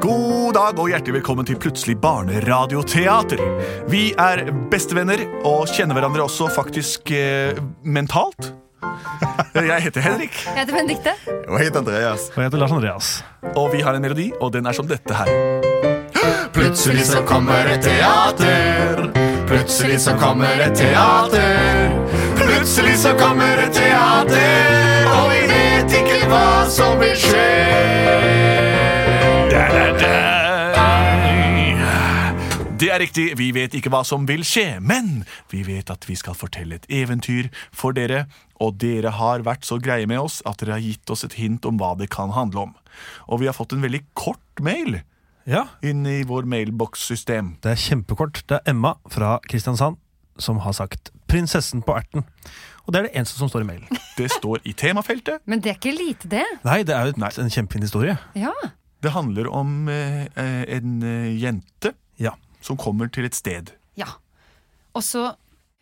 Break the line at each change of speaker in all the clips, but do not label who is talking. dag og hjertelig velkommen til Plutselig barneradioteater. Vi er bestevenner og kjenner hverandre også faktisk eh, mentalt. Jeg heter Henrik,
Jeg heter Benedikte.
Og jeg heter Andreas.
Og jeg heter Lars Andreas.
og vi har en melodi, og den er som dette her.
Plutselig så kommer et teater. Plutselig så kommer et teater. Plutselig så kommer et teater, og vi vet ikke hva som vil skje.
Det er riktig, vi vet ikke hva som vil skje, men vi vet at vi skal fortelle et eventyr for dere, og dere har vært så greie med oss at dere har gitt oss et hint om hva det kan handle om. Og vi har fått en veldig kort mail
Ja,
inn i vår mailbokssystem.
Det er kjempekort. Det er Emma fra Kristiansand som har sagt 'Prinsessen på erten'. Og det er det eneste som står i mailen.
Det står i temafeltet.
Men det er ikke lite, det.
Nei, det er jo et,
Nei.
en kjempefin historie.
Ja.
Det handler om eh, eh, en eh, jente
Ja.
som kommer til et sted.
ja. Og så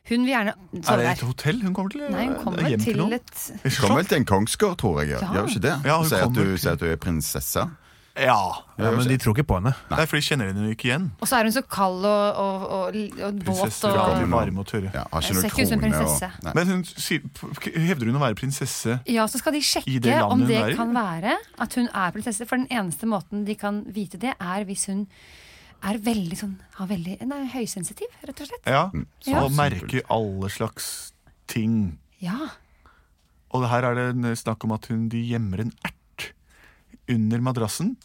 Hun vil gjerne
Er
sove
det
der.
et hotell hun kommer til?
Nei, hun kommer
Hjem
til
noen?
et
Et slott?
Kommer vel til en kongsgård, tror jeg.
Ja.
Gjør hun ikke det?
Ja, hun
sier, at du,
kommer til-
sier at du er prinsesse.
Ja.
ja, Men de tror ikke på henne.
Nei, for de kjenner henne jo ikke igjen.
Og så er hun så kald og, og, og, og våt
Prinsesser
og
er alltid
og-
varme og tørre.
Ja, har
Jeg
ikke
ser
noe
ikke ut som en
krone.
prinsesse.
Og, nei.
Men hun sier, p- hevder hun å være prinsesse?
Ja, så skal de
I det
sjekke
landet
om
hun
det
er i.
kan være at hun er prinsesse. For den eneste måten de kan vite det, er hvis hun er veldig sånn har veldig, Nei, høysensitiv, rett og slett.
Ja.
Mm.
Så
Ja.
merker alle slags ting.
Ja.
Og her er det en snakk om at hun, de gjemmer en ert under madrassen.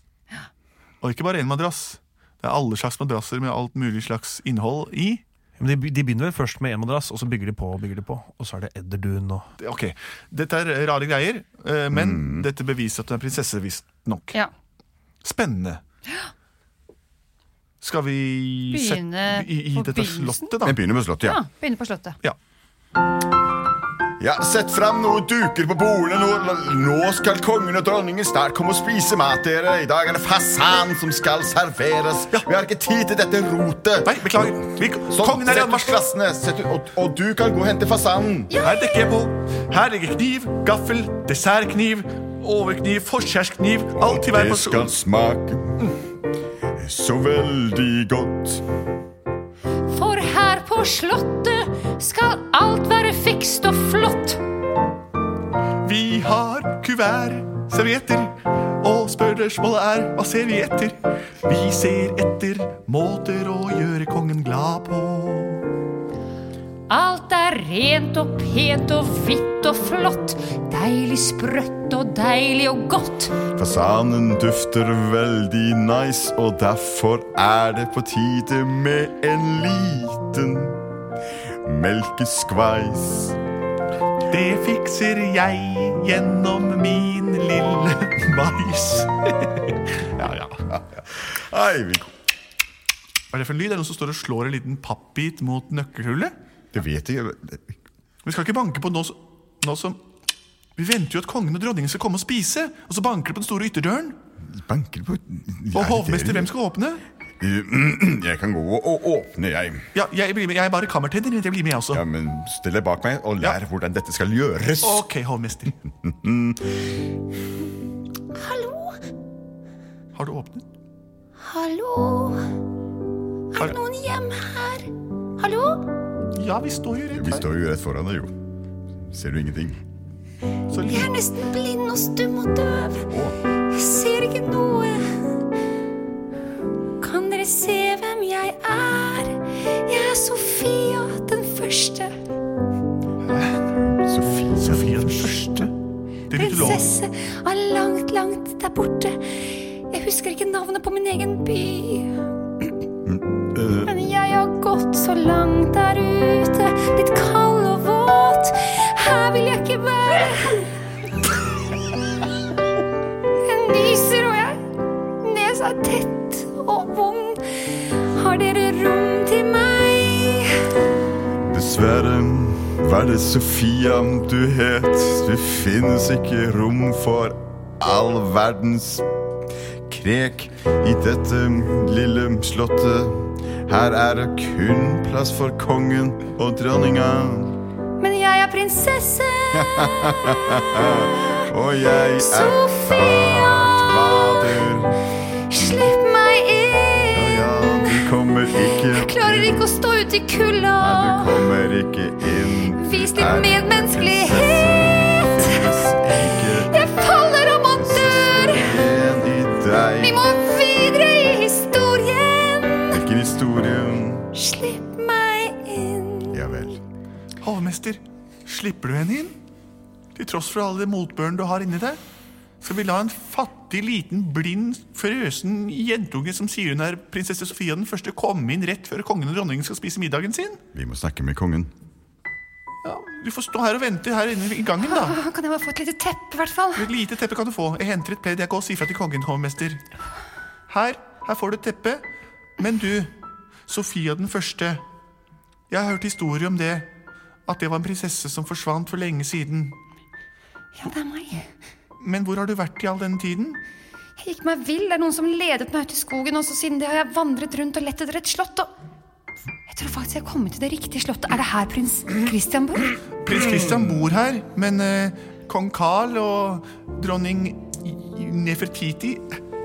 Og ikke bare én madrass. Det er alle slags madrasser med alt mulig slags innhold i.
Men de, de begynner vel først med én madrass, og så bygger de på og bygger de på. Og så er det edderdun og
Ok, Dette er rare greier, eh, men
Mm.
dette beviser at hun er prinsesse, visstnok.
ja.
Spennende. Skal vi
Begynne
sette i, i
på
dette
begynnelsen?
slottet, da?
Vi begynner med Slottet,
ja.
ja.
Begynne på Slottet.
Ja, Sett fram noen duker på bordene. Nå, nå skal kongen og dronningen snart komme og spise mat. dere I dag er det fasan som skal serveres. Vi har ikke tid til dette rotet.
Nei, beklager. Vi,
Sånn,
kongen er i
sett ut
anmarsj!
glassene, sett ut, og, og du kan gå og hente fasanen.
Her dekker jeg på. Her ligger kniv, gaffel, dessertkniv, overkniv, forskjærskniv. Alt til hver
det
person.
skal smake så veldig godt.
For her på Slottet skal alt være fikst og flott.
Vi har kuvert, servietter, og spørsmålet er hva ser vi etter? Vi ser etter måter å gjøre kongen glad på.
Alt er rent og pent og hvitt og flott. Deilig sprøtt og deilig og godt.
Fasanen dufter veldig nice, og derfor er det på tide med en liten melkeskveis.
Det fikser jeg gjennom min lille mais. ja, ja.
Nei, vi-
Hva er det for en lyd? Er det noen som står og slår en liten pappbit mot nøkkelhullet?
det vet jeg ikke.
Vi skal ikke banke på nå, s- nå som Vi venter jo at kongen og dronningen skal komme og spise. Og så banker det på den store ytterdøren.
Banker det på
Og hovmester, hvem skal åpne?
Jeg kan gå og åpne, jeg.
Ja, jeg, blir med, jeg er bare kammertenner. Jeg blir med, jeg også.
Ja, men Still deg bak meg og lær hvordan dette skal gjøres.
Ok, hovmester.
Hallo?
Har du åpnet?
Hallo? Er
Har-
det noen hjemme her? Hallo?
Ja, vi står jo rett
Vi
her.
står jo rett foran deg, jo. Ser du ingenting?
Så
Jeg er
lite.
nesten blind og stum og døv.
Å,
Jeg ser ikke noe. Kan dere se hvem jeg er? Jeg er Sofia den første.
Sofie.
Sofia den første. Det er ikke lov.
Prinsesse av langt, langt der borte. Jeg husker ikke navnet på min egen by. Men jeg har gått så langt der ute, blitt kald og våt. Her vil jeg ikke være. Jeg nyser, og jeg nesa er tett og vond. Har dere rom til meg?
Dessverre var det Sofia du het. Det finnes ikke rom for all verdens krek i dette lille slottet. Her er det kun plass for kongen og dronninga.
Men jeg er prinsesse.
Og jeg er
Sofia!
fader.
Slipp meg inn. ut i kulda.
Du kommer ikke inn. Du
Vis din
er
medmenneskelighet.
prinsesse, Finnes ikke
Jeg faller om og dør.
en i deg.
Vi må videre i historien.
Hvilken historie?
Slipp meg inn.
Ja vel.
Hovmester, slipper du henne inn? Til tross for alle motbøren du har inni deg? Skal vi la en fattig, liten, blind, frøsen jentunge som sier hun er prinsesse Sofia den første, komme inn rett før kongen og dronningen skal spise middagen sin?
Vi må snakke med kongen.
Ja, Du får stå her og vente her inne i gangen, da.
Åh, Kan jeg bare få et lite teppe, i hvert fall?
Et lite teppe kan du få. Jeg henter et pledd. Jeg går og sier fra til kongen, hovmester. Her, her får du et teppe. Men du, Sofia den første. Jeg har hørt historier om det. At det var en prinsesse som forsvant for lenge siden.
Ja, det er meg.
Men hvor har du vært i all denne tiden?
Jeg gikk meg vill. Det er noen som ledet meg ut i skogen, og så siden det har jeg vandret rundt og lett etter et slott, og Jeg tror faktisk jeg har kommet til det riktige slottet. Er det her prins Christian bor?
Prins Christian bor her, men eh, kong Carl og dronning I- I- Nefertiti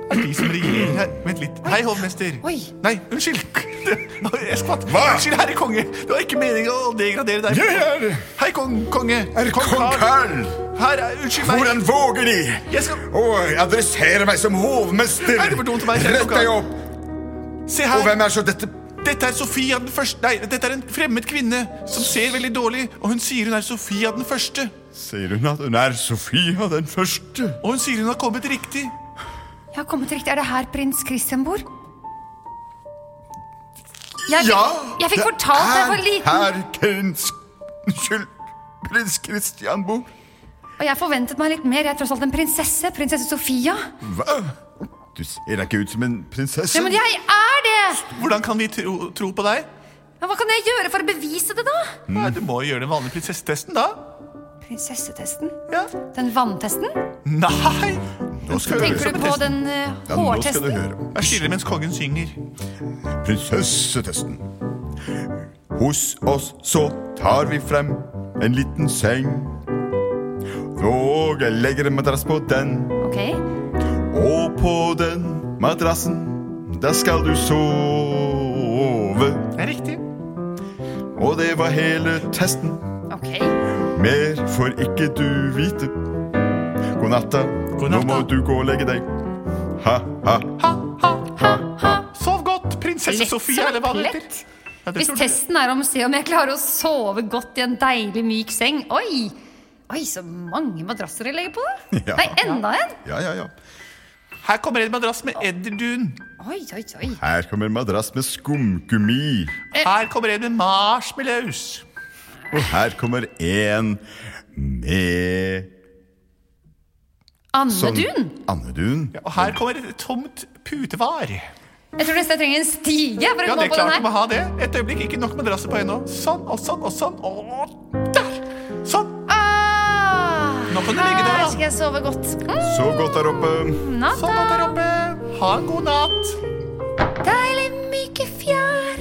er de som regjerer her. Vent litt. Hei, hovmester.
Oi.
Nei, unnskyld. Jeg skvatt. Unnskyld, herre konge. Det var ikke meningen å degradere deg.
er
Hei, kong, konge. Her er, unnskyld meg.
Hvordan våger De
Jeg skal-
å adressere meg som hovmester?
Nei, det var dumt av meg.
Rett deg opp!
Se
Og
her.
hvem er så dette?
Dette er Sofia den første. Nei, dette er en fremmed kvinne som ser veldig dårlig, og hun sier hun er Sofia den første.
Sier hun at hun er Sofia den første?
Og hun sier hun har kommet riktig.
Jeg har kommet til riktig. Er det her prins Christian bor? Jeg fikk,
Ja!
jeg fikk fortalt da jeg var liten,
Her, prins Unnskyld, prins Christian bor.
og jeg forventet meg litt mer. Jeg er tross alt en prinsesse. Prinsesse Sofia.
Hva? Du ser da ikke ut som en prinsesse.
Ja, men jeg er det!
Hvordan kan vi tro, tro på deg?
Men hva kan jeg gjøre for å bevise det, da?
Mm.
Nei, du må jo gjøre den vanlige prinsessetesten, da.
Prinsessetesten?
Ja.
Den vanntesten?
Nei!
Nå skal du
Tenker du
høre.
på den eh,
Ja, nå skal du
hårtesten?
høre.
Jeg skiller mens kongen synger.
Prinsessetesten. Hos oss så tar vi frem en liten seng. Og jeg legger en madrass på den,
Ok.
og på den madrassen, der skal du sove.
Det er riktig.
Og det var hele testen.
ok.
Mer får ikke du vite. God natta,
God
nå
natta.
må du gå og legge deg. Ha, ha.
Ha, ha, ha, ha. Sov godt, prinsesse
Lett
Sofia,
som
eller hva det
plett.
heter. Ja, det
Hvis
tror du.
testen er om å se om jeg klarer å sove godt i en deilig myk seng Oi! Oi, så mange madrasser jeg legger på, da!
Ja.
Nei, enda en!
Ja, ja, ja.
Her kommer en madrass med edderdun.
Oi, oi, oi.
Her kommer en madrass med skumgummi.
Eh.
Her kommer en med marshmallows.
Og her kommer en med sånn-
Andedun?
Andedun.
Og her kommer et tomt putevar.
Jeg tror nesten jeg trenger en stige for å
Ja,
komme
det
opp på
klarte vi å
den her.
ha det. Et øyeblikk, ikke nok madrasser på ennå. Sånn og sånn og sånn og der! Sånn.
Ah,
Nå kan du legge deg, da.
Her skal jeg sove godt. Mm,
Sov godt der oppe.
Sånn at der
Natta!
oppe. Ha en god natt.
Deilig myke fjær.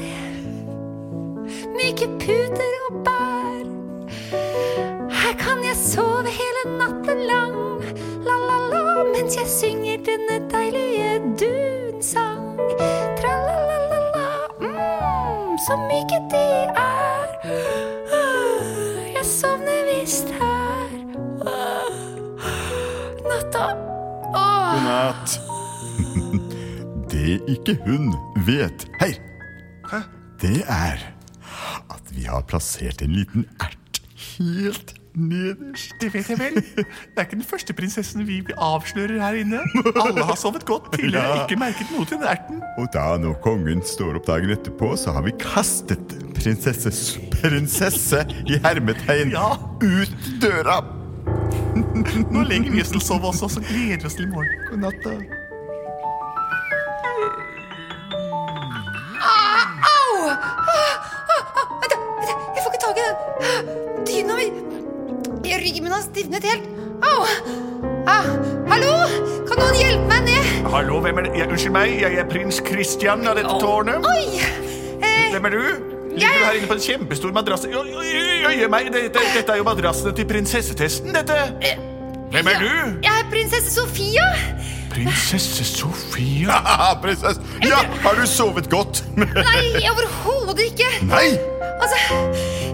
Myke puter og bær. Her kan jeg sove hele natten lang, la-la-la, mens jeg synger denne deilige dunsang. Tra-la-la-la-la, mm, så myke de er. Ah, Jeg sovner visst her. Ah, Natta. Åh.
Natt. Det ikke hun vet Hei! Det er at vi har plassert en liten ert helt nederst.
Det vet jeg vel. Det er ikke den første prinsessen vi avslører her inne. Alle har sovet godt tidligere,
Ja.
ikke merket noe til den erten.
Og da når kongen står opp dagen etterpå, så har vi kastet prinsesses prinsesse i hermetegn
Ja.
ut døra.
Nå legger vi oss til å sove også, så gleder vi oss til i morgen. God natt, da.
Vent, da, vent da, jeg får ikke tak i den dyna mi. I Ryggen min har stivnet helt. Au! Ah, hallo! Kan noen hjelpe meg ned?
Hallo, hvem er det? Ja, unnskyld meg, jeg er prins Christian av dette tårnet.
Oi! Eh,
Hvem er du? Ligger du her inne på en kjempestor madrass? Oi, oi, oi, oi, meg, dette, dette er jo
Eh,
madrassene til prinsessetesten, dette. Hvem er du?
jeg er prinsesse Sofia.
Prinsesse Sofia.
Haha, prinsesse! Ja, har du sovet godt?
Nei, overhodet ikke!
Nei!
Altså,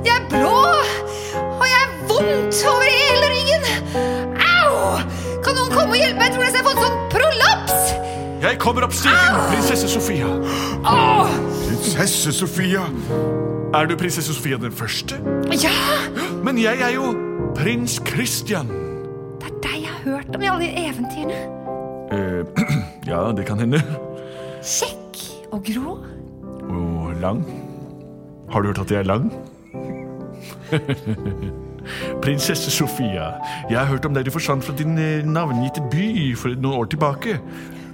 jeg er blå, og jeg er vondt over hele ryggen. Au! Kan noen komme og hjelpe meg? Jeg tror nesten jeg har fått sånn prolaps.
Jeg kommer opp stigen,
Ah!
prinsesse Sofia.
Åh!
Prinsesse Sofia!
Er du prinsesse Sofia den første?
Ja,
Men jeg er jo prins Christian.
det er deg jeg har hørt om i alle de eventyrene.
Eh, ja, det kan hende.
Kjekk og grå.
Og lang. Har du hørt at jeg er lang? Prinsesse Sofia, jeg har hørt om deg du forsvant fra din eh, navngitte by for noen år tilbake.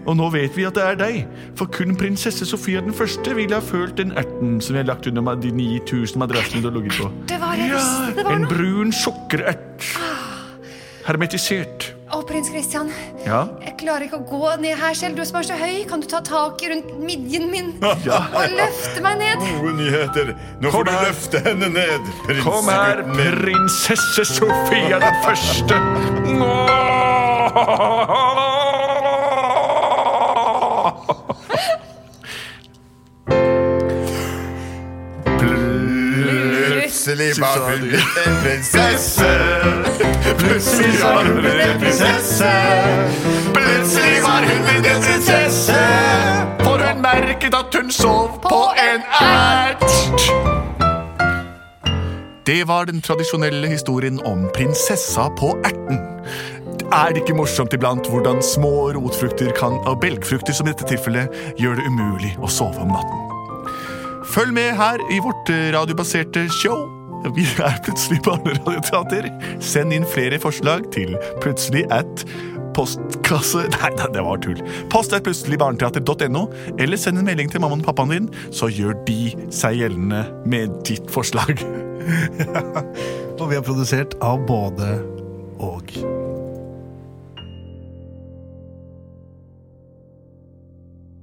Og nå vet vi at det er deg, for kun prinsesse Sofia den første ville ha følt den erten som jeg har lagt under ma- de 9000 madrassene du har ligget på.
Det var jeg
Ja,
visste det Ah. var
en
noe.
brun sukkerert. Hermetisert.
Å, prins Christian.
Ja.
Jeg klarer ikke å gå ned her selv. Du som er så høy, kan du ta tak rundt midjen min og løfte meg ned?
Gode nyheter. Nå
Kom
får du
her.
løfte henne ned, prins.
Kom her,
gutten min.
prinsesse Sofia den første.
Plutselig var hun en prinsesse. Plutselig var hun en prinsesse. Plutselig var hun en prinsesse.
For hun merket at hun sov på en ert. Det var den tradisjonelle historien om prinsessa på erten. Er det ikke morsomt iblant hvordan små rotfrukter kan, og belgfrukter som i dette tilfellet, gjør det umulig å sove om natten? Følg med her i vårt eh, radiobaserte show. Vi er plutselig barneradioteater. Send inn flere forslag til plutselig at postkasse... Nei, nei, det var tull. Post at plutseligbarneteater.no, eller send en melding til mammaen og pappaen din, så gjør de seg gjeldende med ditt forslag.
Og vi er produsert av både